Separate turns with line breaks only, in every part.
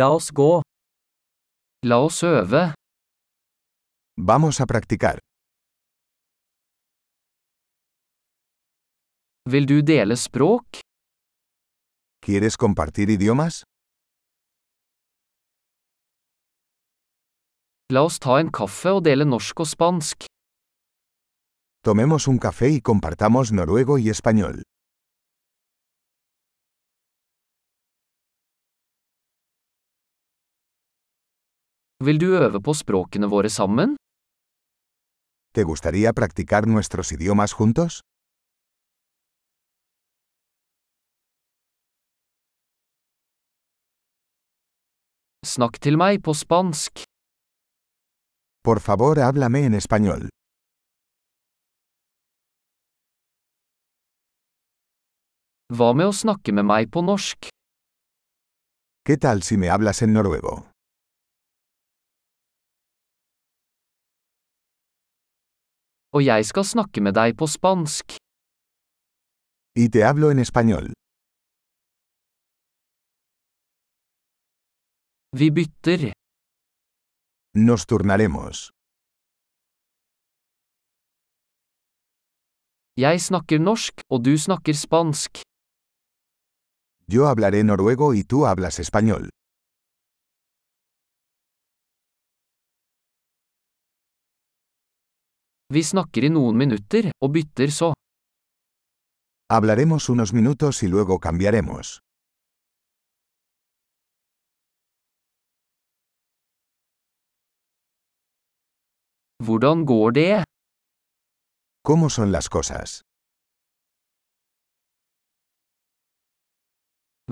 La oss gå. La oss øve.
Vamos a practicar.
Vil du dele språk?
¿Quieres compartir idiomas?
La oss ta en kaffe og dele norsk og spansk.
Tomemos un café y compartamos noruego y español.
Vil du øve på språkene våre sammen?
¿Te gustaría practicar nuestros idiomas juntos?
Snakk til meg på spansk.
Por favor, háblame en español.
Hva med å snakke med meg på norsk?
¿Qué tal si me hablas en noruego?
Og jeg skal snakke med deg på spansk.
Y te hablo en español.
Vi bytter.
Nos turnaremos.
Jeg snakker norsk, og du snakker spansk.
Yo hablaré noruego y tú hablas español.
Vi snakker i noen minutter, og bytter så.
Hablaremos unos minutos y luego cambiaremos.
Hvordan går det?
¿Cómo son las cosas?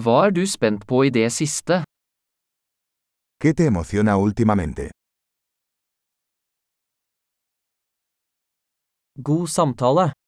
Hva er du spent på i det siste?
¿Qué te emociona últimamente?
God samtale.